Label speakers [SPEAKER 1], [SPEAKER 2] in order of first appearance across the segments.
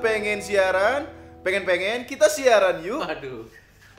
[SPEAKER 1] pengen siaran, pengen-pengen kita siaran yuk.
[SPEAKER 2] Waduh.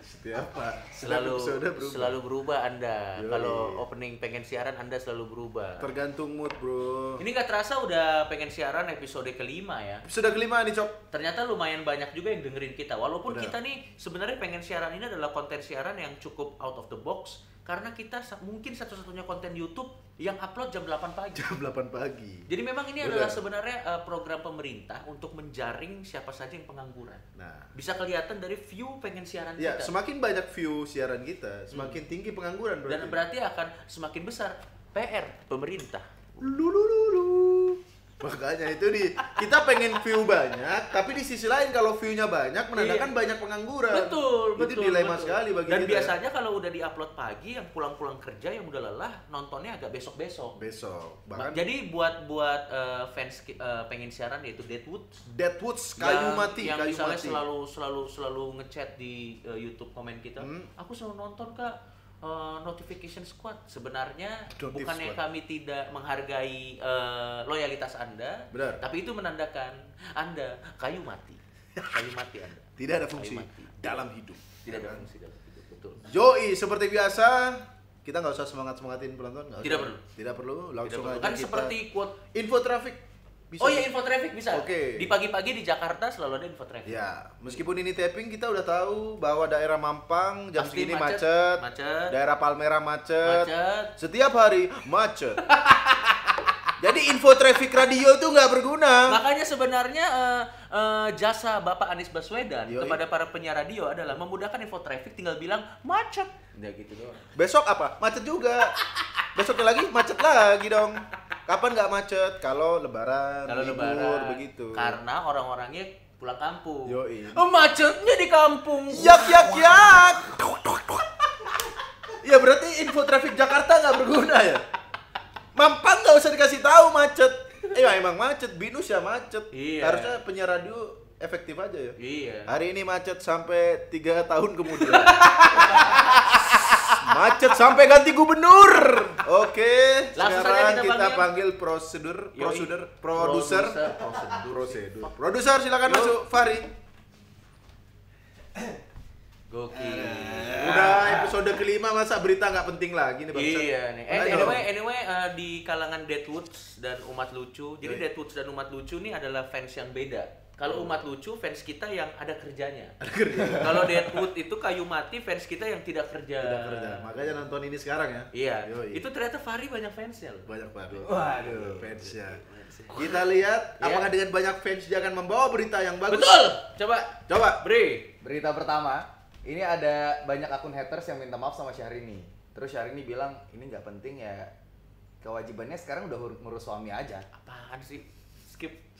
[SPEAKER 1] Setiap
[SPEAKER 2] Selalu
[SPEAKER 1] episode berubah.
[SPEAKER 2] selalu berubah Anda.
[SPEAKER 1] Yoi.
[SPEAKER 2] Kalau opening pengen siaran Anda selalu berubah.
[SPEAKER 1] Tergantung mood, Bro.
[SPEAKER 2] Ini gak terasa udah pengen siaran episode kelima ya.
[SPEAKER 1] Sudah kelima nih, Cok.
[SPEAKER 2] Ternyata lumayan banyak juga yang dengerin kita. Walaupun
[SPEAKER 1] Udah.
[SPEAKER 2] kita nih sebenarnya pengen siaran ini adalah konten siaran yang cukup out of the box karena kita sa- mungkin satu-satunya konten YouTube yang upload jam 8 pagi.
[SPEAKER 1] Jam 8 pagi.
[SPEAKER 2] Jadi memang
[SPEAKER 1] Udah.
[SPEAKER 2] ini adalah sebenarnya eh, program pemerintah untuk menjaring siapa saja yang pengangguran.
[SPEAKER 1] Nah,
[SPEAKER 2] Bisa kelihatan dari view pengen siaran
[SPEAKER 1] ya
[SPEAKER 2] kita. Hmm.
[SPEAKER 1] semakin banyak view siaran kita, semakin tinggi pengangguran berarti.
[SPEAKER 2] Dan berarti akan semakin besar PR pemerintah.
[SPEAKER 1] Lulululu. Makanya itu di kita pengen view banyak, tapi di sisi lain kalau view-nya banyak menandakan banyak pengangguran.
[SPEAKER 2] Iya. Betul,
[SPEAKER 1] Itu
[SPEAKER 2] betul.
[SPEAKER 1] dilema
[SPEAKER 2] betul.
[SPEAKER 1] sekali bagi
[SPEAKER 2] Dan
[SPEAKER 1] kita. ya.
[SPEAKER 2] biasanya kalau udah diupload pagi yang pulang-pulang kerja yang udah lelah nontonnya agak besok-besok.
[SPEAKER 1] besok bahkan
[SPEAKER 2] Jadi buat buat eh, fans ki- eh, pengen siaran yaitu Deadwood
[SPEAKER 1] Deadwoods kayu
[SPEAKER 2] yang,
[SPEAKER 1] mati,
[SPEAKER 2] yang
[SPEAKER 1] kayu
[SPEAKER 2] misalnya
[SPEAKER 1] mati.
[SPEAKER 2] selalu selalu selalu ngechat di eh, YouTube komen kita.
[SPEAKER 1] Hmm.
[SPEAKER 2] Aku selalu nonton Kak eh, Notification Squad. Sebenarnya
[SPEAKER 1] Notif
[SPEAKER 2] bukannya
[SPEAKER 1] Squad.
[SPEAKER 2] kami tidak menghargai eh, loyalitas Anda,
[SPEAKER 1] Benar.
[SPEAKER 2] tapi itu menandakan Anda kayu mati. Kayu mati Anda.
[SPEAKER 1] Tidak ada fungsi
[SPEAKER 2] Kayu mati.
[SPEAKER 1] dalam hidup.
[SPEAKER 2] Tidak ada fungsi dalam hidup, betul.
[SPEAKER 1] Yoi, seperti biasa kita nggak usah semangat semangatin penonton. nggak
[SPEAKER 2] Tidak
[SPEAKER 1] usah.
[SPEAKER 2] perlu.
[SPEAKER 1] Tidak perlu. Langsung
[SPEAKER 2] Tidak perlu.
[SPEAKER 1] aja
[SPEAKER 2] kan
[SPEAKER 1] kita.
[SPEAKER 2] seperti quote
[SPEAKER 1] info traffic. Bisa.
[SPEAKER 2] Oh iya info traffic bisa.
[SPEAKER 1] Oke.
[SPEAKER 2] Di pagi-pagi di Jakarta selalu ada info traffic.
[SPEAKER 1] Ya, meskipun ini taping kita udah tahu bahwa daerah Mampang jam
[SPEAKER 2] Pasti
[SPEAKER 1] segini
[SPEAKER 2] macet,
[SPEAKER 1] macet,
[SPEAKER 2] macet.
[SPEAKER 1] daerah Palmera macet,
[SPEAKER 2] Macet.
[SPEAKER 1] setiap hari macet. Jadi info traffic radio itu nggak berguna.
[SPEAKER 2] Makanya sebenarnya eh, eh, jasa Bapak Anies Baswedan
[SPEAKER 1] Yoi.
[SPEAKER 2] kepada para penyiar radio adalah memudahkan info traffic tinggal bilang macet. Ya gitu doang.
[SPEAKER 1] Besok apa? Macet juga. Besoknya lagi macet lagi dong. Kapan nggak macet? Kalau lebaran,
[SPEAKER 2] Kalau
[SPEAKER 1] libur,
[SPEAKER 2] lebaran
[SPEAKER 1] begitu.
[SPEAKER 2] Karena orang-orangnya pulang kampung.
[SPEAKER 1] Yoi. Ya.
[SPEAKER 2] Oh, macetnya di kampung.
[SPEAKER 1] Yak yak yak. ya berarti info traffic Jakarta nggak berguna ya. Mampang nggak usah dikasih tahu macet. Eh emang macet, binus ya macet.
[SPEAKER 2] Iya.
[SPEAKER 1] Harusnya penyiar radio efektif aja ya.
[SPEAKER 2] Iya.
[SPEAKER 1] Hari ini macet sampai tiga tahun kemudian. macet sampai ganti gubernur. Oke,
[SPEAKER 2] Langsung
[SPEAKER 1] sekarang
[SPEAKER 2] saja
[SPEAKER 1] kita,
[SPEAKER 2] kita panggil.
[SPEAKER 1] panggil prosedur,
[SPEAKER 2] Yoi.
[SPEAKER 1] prosedur, produser,
[SPEAKER 2] Prosedur. Eh.
[SPEAKER 1] prosedur. Produser silakan
[SPEAKER 2] Yuk.
[SPEAKER 1] masuk Fari.
[SPEAKER 2] Gokil.
[SPEAKER 1] Udah episode kelima masa berita nggak penting lagi nih bangsat.
[SPEAKER 2] Iya nih. Eh,
[SPEAKER 1] Ayo.
[SPEAKER 2] anyway, anyway eh, di kalangan Deadwoods dan umat lucu. Jadi
[SPEAKER 1] Yoi.
[SPEAKER 2] Deadwoods dan umat lucu ini adalah fans yang beda. Kalau umat lucu fans kita yang ada kerjanya. Kalau Deadwood itu kayu mati fans kita yang tidak kerja.
[SPEAKER 1] Udah kerja. Makanya nonton ini sekarang ya.
[SPEAKER 2] Iya.
[SPEAKER 1] Yoi.
[SPEAKER 2] Itu Oh. ternyata Fahri banyak fansnya loh.
[SPEAKER 1] banyak banget.
[SPEAKER 3] Waduh.
[SPEAKER 1] fansnya. Kita lihat
[SPEAKER 2] Iya.
[SPEAKER 1] apakah dengan banyak fans dia akan membawa berita yang bagus.
[SPEAKER 2] Betul. Coba
[SPEAKER 1] Coba.
[SPEAKER 2] Bre.
[SPEAKER 3] Berita pertama, ini ada banyak akun haters yang minta maaf sama Syahrini. Terus Syahrini bilang, ini nggak penting ya, kewajibannya sekarang udah hur- ngurus suami aja.
[SPEAKER 2] Apaan sih? Skip.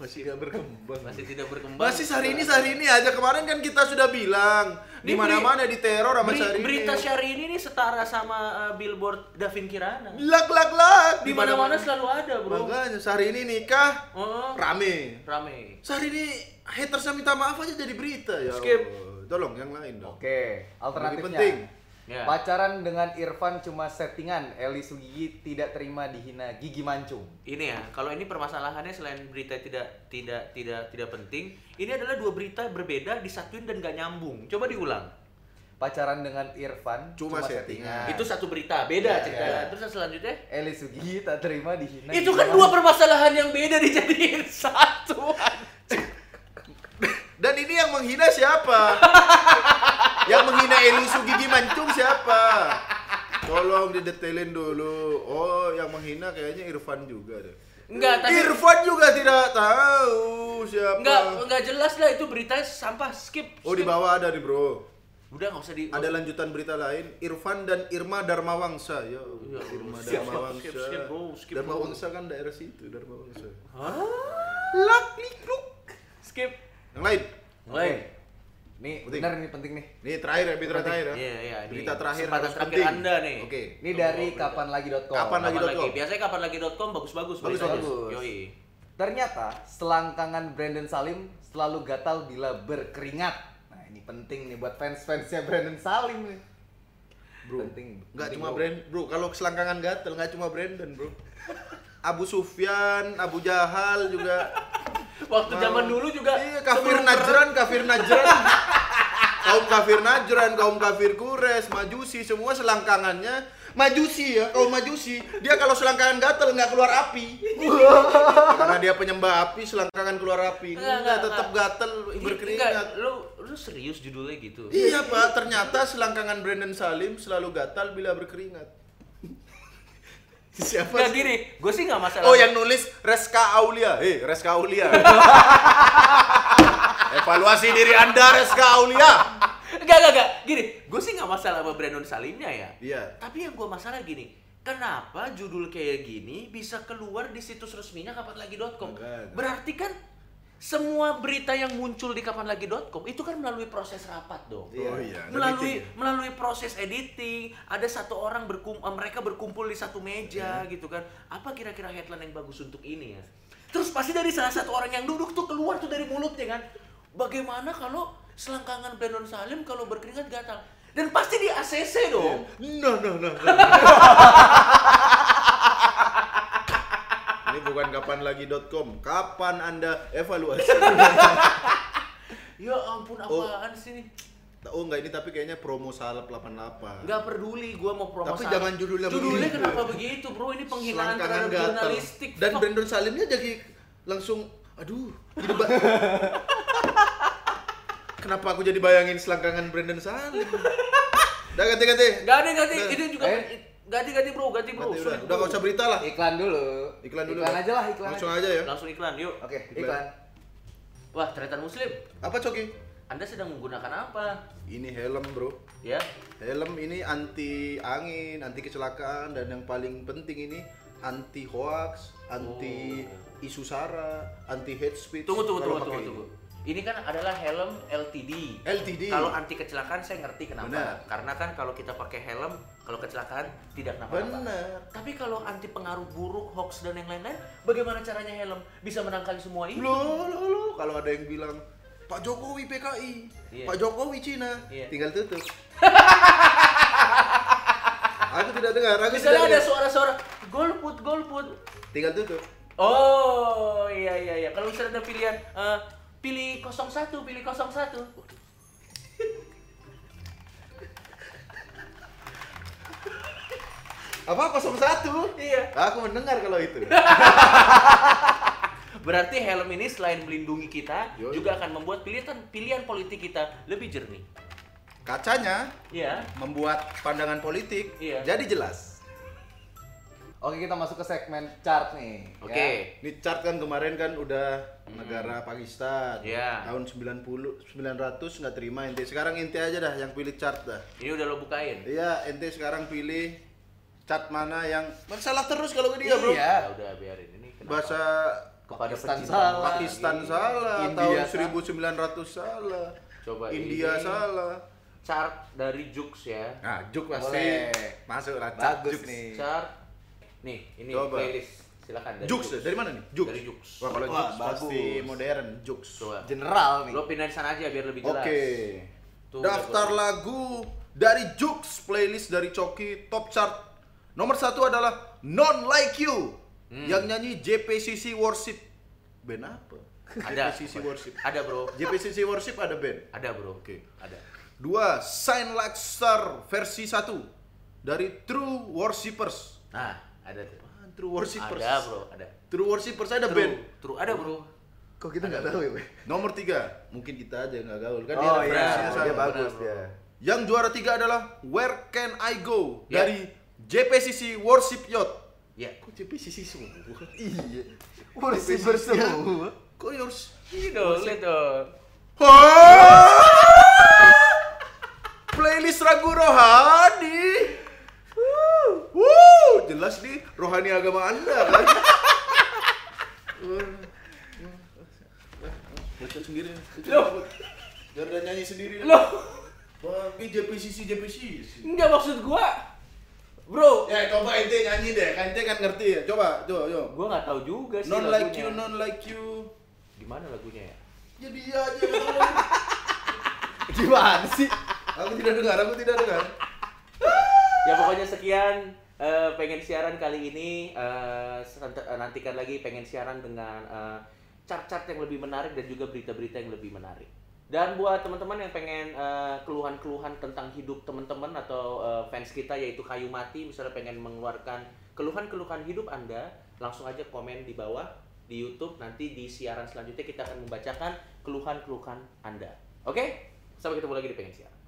[SPEAKER 1] Masih nggak berkembang.
[SPEAKER 2] Masih tidak berkembang.
[SPEAKER 1] Masih hari ini hari ini aja kemarin kan kita sudah bilang di
[SPEAKER 2] Ini
[SPEAKER 1] mana-mana diteror sama
[SPEAKER 2] Beri-
[SPEAKER 1] hari ini.
[SPEAKER 2] berita Syahrini ini setara sama eh, billboard Davin Kirana.
[SPEAKER 1] Lak lak lak
[SPEAKER 2] Di mana-mana selalu ada, Bro.
[SPEAKER 1] Makanya hari ini nikah
[SPEAKER 2] Oh,
[SPEAKER 1] rame.
[SPEAKER 2] rame.
[SPEAKER 1] Sehari ini hatersnya minta maaf aja jadi berita ya.
[SPEAKER 2] Skip.
[SPEAKER 1] Allah. Tolong yang lain dong.
[SPEAKER 3] Oke,
[SPEAKER 1] Lebih penting.
[SPEAKER 3] alternatifnya.
[SPEAKER 2] Ya.
[SPEAKER 3] Pacaran dengan Irfan cuma settingan, Eli Sugigi tidak terima dihina gigi mancung.
[SPEAKER 2] ini ya kalau ini permasalahannya selain berita tidak tidak tidak tidak penting ini adalah dua berita berbeda disatuin dan gak nyambung coba diulang
[SPEAKER 3] Pacaran dengan Irfan
[SPEAKER 1] Cuma settingan.
[SPEAKER 2] itu satu berita beda
[SPEAKER 1] Iya,
[SPEAKER 3] Ya,
[SPEAKER 2] cerita
[SPEAKER 3] ya.
[SPEAKER 2] terus yang selanjutnya
[SPEAKER 3] Eli Sugigi tak
[SPEAKER 1] Nah,
[SPEAKER 3] terima dihina
[SPEAKER 2] itu
[SPEAKER 3] gigi
[SPEAKER 2] kan dua
[SPEAKER 3] mancung.
[SPEAKER 2] permasalahan yang beda dijadiin satu
[SPEAKER 1] Dan ini yang menghina siapa? yang menghina Eli Sugigi Mancung siapa? Tolong didetailin dulu. Oh, yang menghina kayaknya Irfan juga deh.
[SPEAKER 2] Enggak, tapi-
[SPEAKER 1] Irfan juga tidak tahu siapa.
[SPEAKER 2] nggak nggak jelas lah itu beritanya sampah skip,
[SPEAKER 1] Oh, di
[SPEAKER 2] skip.
[SPEAKER 1] bawah ada nih, Bro.
[SPEAKER 2] udah nggak usah di
[SPEAKER 1] Ada lanjutan berita lain, Irfan dan Irma Darmawangsa. Ya,
[SPEAKER 2] Ya,
[SPEAKER 1] Irma
[SPEAKER 2] skip,
[SPEAKER 1] Darmawangsa.
[SPEAKER 2] skip, skip, bro, skip, bro.
[SPEAKER 1] Darmawangsa kan daerah situ, Darmawangsa.
[SPEAKER 2] Hah?
[SPEAKER 1] Lak lik luk.
[SPEAKER 2] skip
[SPEAKER 1] Yang lain.
[SPEAKER 3] Oke.
[SPEAKER 2] Lain.
[SPEAKER 3] Nih,
[SPEAKER 1] Penting.
[SPEAKER 3] benar nih penting nih.
[SPEAKER 1] Ini terakhir ya, berita
[SPEAKER 3] Penting.
[SPEAKER 1] terakhir ya.
[SPEAKER 2] Iya, iya, ini
[SPEAKER 1] Berita terakhir
[SPEAKER 2] kesempatan
[SPEAKER 1] harus
[SPEAKER 2] terakhir
[SPEAKER 1] penting.
[SPEAKER 2] Anda nih.
[SPEAKER 1] Oke.
[SPEAKER 3] Ini dari
[SPEAKER 1] Kapan lagi?
[SPEAKER 3] kapanlagi.com.
[SPEAKER 2] Kapan lagi
[SPEAKER 1] Kapanlagi.com.
[SPEAKER 2] biasanya kapanlagi.com bagus-bagus
[SPEAKER 1] Bagus,
[SPEAKER 2] beritanya.
[SPEAKER 3] bagus.
[SPEAKER 2] Yoi.
[SPEAKER 3] Ternyata selangkangan Brandon Salim selalu gatal bila berkeringat. Nah ini penting nih buat fans-fansnya Brandon Salim nih.
[SPEAKER 1] Bro,
[SPEAKER 3] Penting.
[SPEAKER 1] nggak
[SPEAKER 3] penting,
[SPEAKER 1] cuma
[SPEAKER 3] bro.
[SPEAKER 1] brand, bro. Kalau selangkangan gatel nggak cuma Brandon, bro. Abu Sufyan, Abu Jahal juga.
[SPEAKER 2] Waktu zaman dulu juga
[SPEAKER 1] Nah. Iya, kafir
[SPEAKER 2] sebelum
[SPEAKER 1] najran, kafir najran. kaum kafir najran, kaum kafir kures, majusi, semua selangkangannya majusi ya, kaum majusi. Dia kalau selangkangan gatel nggak keluar api. Karena dia penyembah api, selangkangan keluar api.
[SPEAKER 2] Enggak,
[SPEAKER 1] Enggak,
[SPEAKER 2] enggak,
[SPEAKER 1] tetap gatel berkeringat.
[SPEAKER 2] Iya, Enggak, lu lu serius judulnya gitu.
[SPEAKER 1] Iya pak, ternyata selangkangan Brandon Salim selalu gatal bila berkeringat. Siapa
[SPEAKER 2] Enggak
[SPEAKER 1] sih?
[SPEAKER 2] gini, gue sih nggak masalah.
[SPEAKER 1] Oh yang nulis Reska Aulia, eh Reska Aulia. Evaluasi diri anda Reska Aulia.
[SPEAKER 2] Enggak, enggak, enggak. Gini, gue sih nggak masalah sama Brandon Salimnya ya.
[SPEAKER 1] Iya.
[SPEAKER 2] Tapi yang gue masalah gini, kenapa judul kayak gini bisa keluar di situs resminya kapanlagi.com?
[SPEAKER 1] Enggak.
[SPEAKER 2] Berarti kan semua berita yang muncul di kapanlagi.com itu kan melalui proses rapat dong.
[SPEAKER 1] Oh iya.
[SPEAKER 2] melalui melalui proses editing ada satu orang berkum eh, mereka berkumpul di satu meja
[SPEAKER 1] Iya.
[SPEAKER 2] gitu kan apa kira-kira headline yang bagus untuk ini ya terus pasti dari salah satu orang yang duduk tuh keluar tuh dari mulutnya kan bagaimana kalau selangkangan Brandon Salim kalau berkeringat gatal dan pasti di ACC dong
[SPEAKER 1] No no no. no. Ini bukan kapanlagi.com. Kapan anda evaluasi? Iya.
[SPEAKER 2] ya ampun apaan sih ini
[SPEAKER 1] oh enggak ini tapi kayaknya promo salep 88.
[SPEAKER 2] nggak peduli gua mau promosi
[SPEAKER 1] Tapi jangan judulnya
[SPEAKER 2] judulnya
[SPEAKER 1] begitu.
[SPEAKER 2] kenapa begitu bro ini penghinaan
[SPEAKER 1] Selangkangan
[SPEAKER 2] terhadap
[SPEAKER 1] gatal.
[SPEAKER 2] jurnalistik
[SPEAKER 1] Dan
[SPEAKER 2] Fuck.
[SPEAKER 1] Brandon Salimnya jadi langsung aduh jadi ba- Kenapa aku jadi bayangin selangkangan Brandon Salim? Udah ganti-ganti.
[SPEAKER 2] ganti ganti
[SPEAKER 1] Dan-
[SPEAKER 2] itu juga
[SPEAKER 3] Eh.
[SPEAKER 2] ganti ganti bro ganti bro
[SPEAKER 1] Ganti udah,
[SPEAKER 2] Sulit,
[SPEAKER 1] udah
[SPEAKER 2] bro.
[SPEAKER 1] gak usah berita lah.
[SPEAKER 3] Iklan dulu.
[SPEAKER 1] Iklan dulu.
[SPEAKER 3] Iklan aja lah, iklan.
[SPEAKER 1] Langsung
[SPEAKER 3] aja.
[SPEAKER 1] aja ya.
[SPEAKER 2] langsung iklan yuk
[SPEAKER 3] Oke,
[SPEAKER 1] Iklan.
[SPEAKER 3] iklan.
[SPEAKER 2] Wah, Tretan Muslim,
[SPEAKER 1] Apa Coki?
[SPEAKER 2] Anda sedang menggunakan apa?
[SPEAKER 1] Ini helm, Bro.
[SPEAKER 2] Ya,
[SPEAKER 1] Helm ini anti angin, anti kecelakaan dan yang paling penting ini anti hoax, anti isu sara, anti hate speech.
[SPEAKER 2] Oh. tunggu tunggu
[SPEAKER 1] Kalau
[SPEAKER 2] tunggu tunggu
[SPEAKER 1] pakai
[SPEAKER 2] tunggu. Ini kan adalah helm LTD.
[SPEAKER 1] LTD.
[SPEAKER 2] Kalau anti kecelakaan saya ngerti kenapa.
[SPEAKER 1] Benar.
[SPEAKER 2] Karena kan kalau kita pakai helm, kalau kecelakaan tidak kenapa-napa.
[SPEAKER 1] Benar.
[SPEAKER 2] Tapi kalau anti pengaruh buruk, hoax dan yang lain-lain, bagaimana caranya helm bisa menangkali semua ini?
[SPEAKER 1] Loh, loh, loh. Kalau ada yang bilang Pak Jokowi PKI,
[SPEAKER 2] Iya.
[SPEAKER 1] Pak Jokowi Cina,
[SPEAKER 2] Iya.
[SPEAKER 1] tinggal tutup. aku tidak dengar, aku
[SPEAKER 2] Misalnya
[SPEAKER 1] tidak
[SPEAKER 2] ada
[SPEAKER 1] dengar.
[SPEAKER 2] suara-suara golput golput.
[SPEAKER 1] Tinggal tutup.
[SPEAKER 2] Oh, iya iya iya. Kalau misalnya ada pilihan eh, pilih 01, pilih 01.
[SPEAKER 1] Apa 01?
[SPEAKER 2] Iya.
[SPEAKER 1] Aku mendengar kalau itu.
[SPEAKER 2] Berarti helm ini selain melindungi kita,
[SPEAKER 1] Yoi.
[SPEAKER 2] juga akan membuat pilihan pilihan politik kita lebih jernih.
[SPEAKER 1] Kacanya
[SPEAKER 2] Iya.
[SPEAKER 1] membuat pandangan politik
[SPEAKER 2] Iya.
[SPEAKER 1] jadi jelas.
[SPEAKER 3] Oke, kita masuk ke segmen chart nih. ya.
[SPEAKER 2] Oke. Hmm.
[SPEAKER 1] Ini chart kan kemarin kan udah negara Pakistan.
[SPEAKER 2] Iya.
[SPEAKER 1] Tahun 90 900 nggak terima ente. Sekarang ente aja dah yang pilih chart dah.
[SPEAKER 2] Ini udah lo bukain.
[SPEAKER 1] Iya, ente sekarang pilih chart mana yang masalah terus kalau ke dia, Bro.
[SPEAKER 3] Iya.
[SPEAKER 2] Ya udah biarin ini. kenapa?
[SPEAKER 1] bahasa
[SPEAKER 2] kepada
[SPEAKER 3] Pakistan
[SPEAKER 2] pecinta.
[SPEAKER 3] salah.
[SPEAKER 1] Pakistan
[SPEAKER 3] Iya.
[SPEAKER 1] salah,
[SPEAKER 3] India
[SPEAKER 1] tahun
[SPEAKER 3] salah.
[SPEAKER 1] 1900 salah.
[SPEAKER 2] Coba
[SPEAKER 1] India
[SPEAKER 2] ini.
[SPEAKER 1] salah.
[SPEAKER 2] Chart dari Jux ya.
[SPEAKER 1] Nah, Juk pasti
[SPEAKER 3] Boleh.
[SPEAKER 1] masuk lah
[SPEAKER 3] Bagus
[SPEAKER 1] Juk
[SPEAKER 3] nih.
[SPEAKER 2] Chart. Nih, ini
[SPEAKER 1] Coba.
[SPEAKER 2] playlist. Silakan dari
[SPEAKER 1] Jux dari mana nih? Jux.
[SPEAKER 2] Dari Jux.
[SPEAKER 1] Wah, kalau
[SPEAKER 3] Wah,
[SPEAKER 1] Jux pasti
[SPEAKER 3] bagus.
[SPEAKER 1] modern, Jux.
[SPEAKER 2] Coba.
[SPEAKER 3] ya. General nih.
[SPEAKER 2] Lo pindahin sana aja biar lebih
[SPEAKER 1] Oke.
[SPEAKER 2] jelas. Tuh,
[SPEAKER 1] Daftar
[SPEAKER 2] udah
[SPEAKER 1] lagu dari Jux playlist dari Coki top chart. Nomor satu adalah Non Like You
[SPEAKER 2] Hmm.
[SPEAKER 1] yang nyanyi JPCC Worship. Band apa?
[SPEAKER 2] Ada.
[SPEAKER 1] JPCC Worship.
[SPEAKER 2] Ada bro.
[SPEAKER 1] JPCC Worship ada band.
[SPEAKER 2] Ada bro.
[SPEAKER 1] Oke.
[SPEAKER 2] Ada.
[SPEAKER 1] Dua, Sign Like Star versi 1 dari True Worshippers.
[SPEAKER 2] Nah, ada tuh.
[SPEAKER 1] Ah, True Worshippers.
[SPEAKER 2] Ada bro. Ada.
[SPEAKER 1] True Worshippers ada
[SPEAKER 2] True.
[SPEAKER 1] band.
[SPEAKER 2] True. Ada bro.
[SPEAKER 3] Kok kita nggak tahu ya? Boy?
[SPEAKER 1] Nomor 3, mungkin kita aja yang nggak gaul kan
[SPEAKER 3] oh
[SPEAKER 1] dia
[SPEAKER 3] iya,
[SPEAKER 1] referensinya
[SPEAKER 3] dia
[SPEAKER 1] sama.
[SPEAKER 3] bagus
[SPEAKER 2] Benar,
[SPEAKER 3] dia.
[SPEAKER 1] Yang juara 3 adalah Where Can I Go
[SPEAKER 2] Ya.
[SPEAKER 1] dari JPCC Worship Yacht.
[SPEAKER 2] Ya.
[SPEAKER 1] Kok JPCC semua?
[SPEAKER 3] Iya. Kursi bersemu.
[SPEAKER 1] Kok yours?
[SPEAKER 2] Idol, idol.
[SPEAKER 1] Playlist ragu rohani. Wuh, wuh, jelas nih rohani agama Anda kan. Bocor sendiri.
[SPEAKER 2] Loh.
[SPEAKER 1] Biar dia nyanyi sendiri.
[SPEAKER 2] Loh,
[SPEAKER 1] Bang, ini JPCC JPCC.
[SPEAKER 2] enggak maksud gua. Bro,
[SPEAKER 1] Ya coba ente nyanyi deh, kan ente kan ngerti ya. Coba, coba, coba.
[SPEAKER 2] gua nggak tahu juga sih
[SPEAKER 1] Non
[SPEAKER 2] lagunya.
[SPEAKER 1] like you, non like you.
[SPEAKER 2] Gimana lagunya ya?
[SPEAKER 1] Ya dia aja. Bang.
[SPEAKER 3] Gimana sih?
[SPEAKER 1] aku tidak dengar, aku tidak dengar.
[SPEAKER 2] Ya pokoknya sekian eh, pengen siaran kali ini Eh, sent- eh, nantikan lagi pengen siaran dengan eh, chart-chart yang lebih menarik dan juga berita-berita yang lebih menarik. Dan buat teman-teman yang pengen eh, keluhan-keluhan tentang hidup teman-teman atau eh, fans kita yaitu kayu mati misalnya pengen mengeluarkan keluhan-keluhan hidup Anda, langsung aja komen di bawah di YouTube nanti di siaran selanjutnya kita akan membacakan keluhan-keluhan Anda. Oke? Sampai ketemu lagi di pengen siaran.